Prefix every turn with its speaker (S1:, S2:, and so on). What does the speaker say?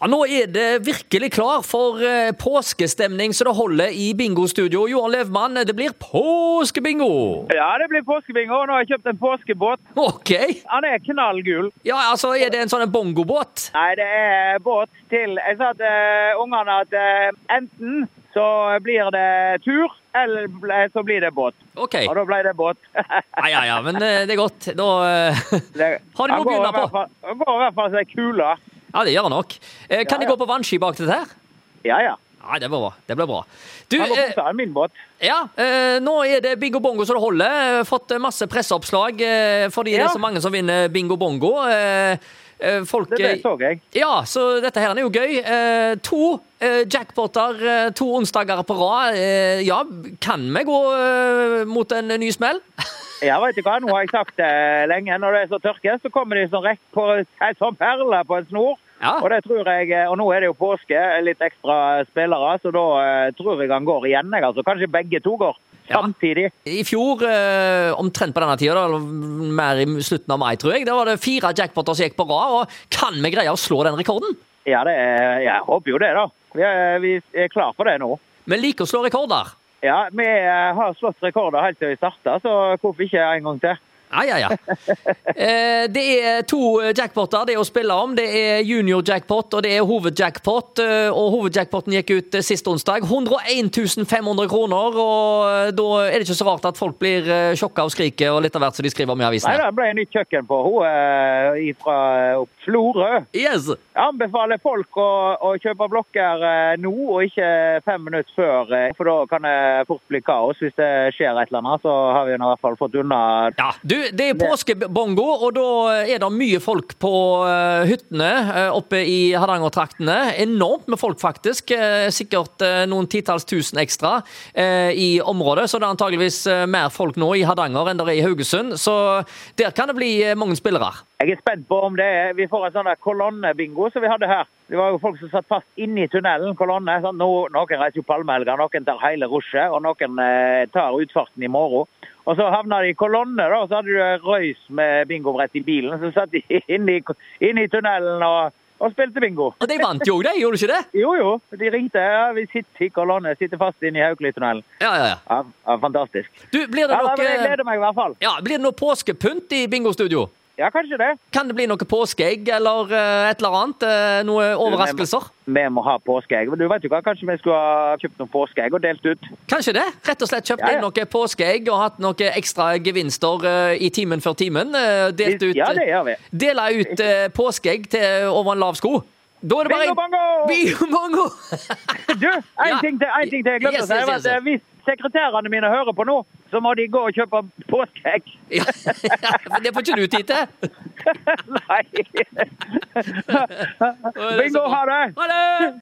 S1: Ja, nå er det virkelig klar for eh, påskestemning så det holder i bingostudio. Johan Levmann, det blir påskebingo!
S2: Ja, det blir påskebingo. Nå har jeg kjøpt en påskebåt.
S1: Ok.
S2: Han er knallgul.
S1: Ja, altså, er det en sånn en bongobåt?
S2: Nei, det er båt til Jeg sa til eh, ungene at eh, enten så blir det tur, eller ble- så blir det båt.
S1: Ok.
S2: Og da ble det båt.
S1: Ja, ja, ja, men eh, det er godt. Da eh,
S2: Det-
S1: Har de noe å
S2: Han går i
S1: begynne på?
S2: hvert fall- Han går i hvert fall seg kula.
S1: Ja, det gjør han nok. Eh, Kan
S2: Ja,
S1: de
S2: ja.
S1: gå på vannski bak dette her?
S2: Ja, ja.
S1: Nei, det blir bra. Det blir bra. Du,
S2: Han
S1: eh,
S2: går på min båt.
S1: ja, eh, nå er det bingo bongo som det holder. Eh, Fått eh, masse presseoppslag eh, fordi det
S2: Ja.
S1: er så mange som vinner bingo bongo. Eh, eh, Folk
S2: Det, det
S1: eh,
S2: så jeg.
S1: Ja, så dette her er jo gøy. Eh, to eh, jackpoter, eh, to onsdager på rad. Eh, ja, kan vi gå eh, mot en ny smell?
S2: Ja, vet du hva? Nå har jeg sagt det lenge. Når det er så tørke, så kommer de som, rekk på, eh, som perler på en snor.
S1: Ja.
S2: Og det tror jeg, eh, og nå er det jo påske, eh, litt ekstra spillere, så da eh, tror jeg han går igjen. Jeg, altså. Kanskje begge to går
S1: Ja.
S2: samtidig.
S1: I fjor, eh, omtrent på denne tida, da, eller mer i slutten av mai, tror jeg, da var det fire jackpoter som gikk på rad. Og kan vi greie å slå den rekorden?
S2: Ja, det er, jeg håper jo det, da. Vi er, vi er klar for det nå.
S1: Vi liker å slå rekorder.
S2: Ja, Vi eh, har slått rekorder helt til vi starta, så hvorfor ikke en gang til?
S1: Ja, ja, ja. Eh, det er to eh, jackpoter det er å spille om. Det er junior jackpot og det er hovedjackpot. eh, Og hovedjackpoten gikk ut eh, sist onsdag. 101 500 kroner. Og eh, da er det ikke så rart at folk blir eh, sjokka og skriker og litt av hvert som de skriver om i
S2: Nei,
S1: avisene.
S2: det ble nytt kjøkken på eh, henne fra Florø.
S1: Yes.
S2: Jeg anbefaler folk å, å kjøpe blokker eh, nå og ikke fem minutter før, eh, for da kan det fort bli kaos hvis det skjer et eller annet. Så har vi nå i hvert fall fått unna
S1: Ja, du, Det er påskebongo, og da er det mye folk på eh, hyttene eh, oppe i Hardangertraktene. Enormt med folk, faktisk. Eh, Sikkert eh, noen titalls tusen ekstra eh, i området. Så det er antageligvis eh, mer folk nå i Hardanger enn det er i Haugesund. Så der kan det bli eh, mange spillere.
S2: Jeg er spent på om det er Vi får en sånn der kolonnebingo som vi hadde her. Det var jo folk som satt fast inne i tunnelen, kolonne. Sånn, no, noen reiser jo palmehelga, noen tar hele rushet, og noen eh, tar utfarten i morgen. Og så havna de i kolonne, da, og så hadde du eh, røys med bingobrett i bilen. Så satt de inne i, inne i tunnelen og, og spilte bingo.
S1: Og de vant jo, de, gjorde de ikke det?
S2: Jo, jo. De ringte. Ja, vi sitter i kolonne, sitter fast inne i Haukelitunnelen.
S1: Ja, ja, ja.
S2: Ja, ja, fantastisk.
S1: Du, blir det
S2: Ja, nei, men jeg
S1: noe,
S2: gleder meg i hvert fall.
S1: ja, blir det noe påskepynt i bingostudio?
S2: Ja, kanskje det.
S1: Kan det bli noe påskeegg eller eh, et eller annet? Eh, Noen overraskelser?
S2: Vi må ha påskeegg. Men Du vet jo hva, kanskje vi skulle ha kjøpt noen påskeegg og delt ut.
S1: Kanskje det. Rett og slett kjøpt
S2: Ja, ja.
S1: inn noen påskeegg og hatt noen ekstra gevinster eh, i timen før timen. eh, delt ut,
S2: Ja, det gjør vi.
S1: Dela ut eh, påskeegg til over en lav sko. Da er det bare
S2: Bingo bango!
S1: Bingo bango!
S2: Du, en
S1: Ja.
S2: ting til. En ting til jeg glemte
S1: Yes,
S2: å si.
S1: yes,
S2: var
S1: yes,
S2: at, eh, Hvis sekretærene mine hører på nå, så må de gå og kjøpe påskeegg.
S1: ja, for det får ikke du tid til.
S2: Nei. Bingo, ha det!
S1: Ha det!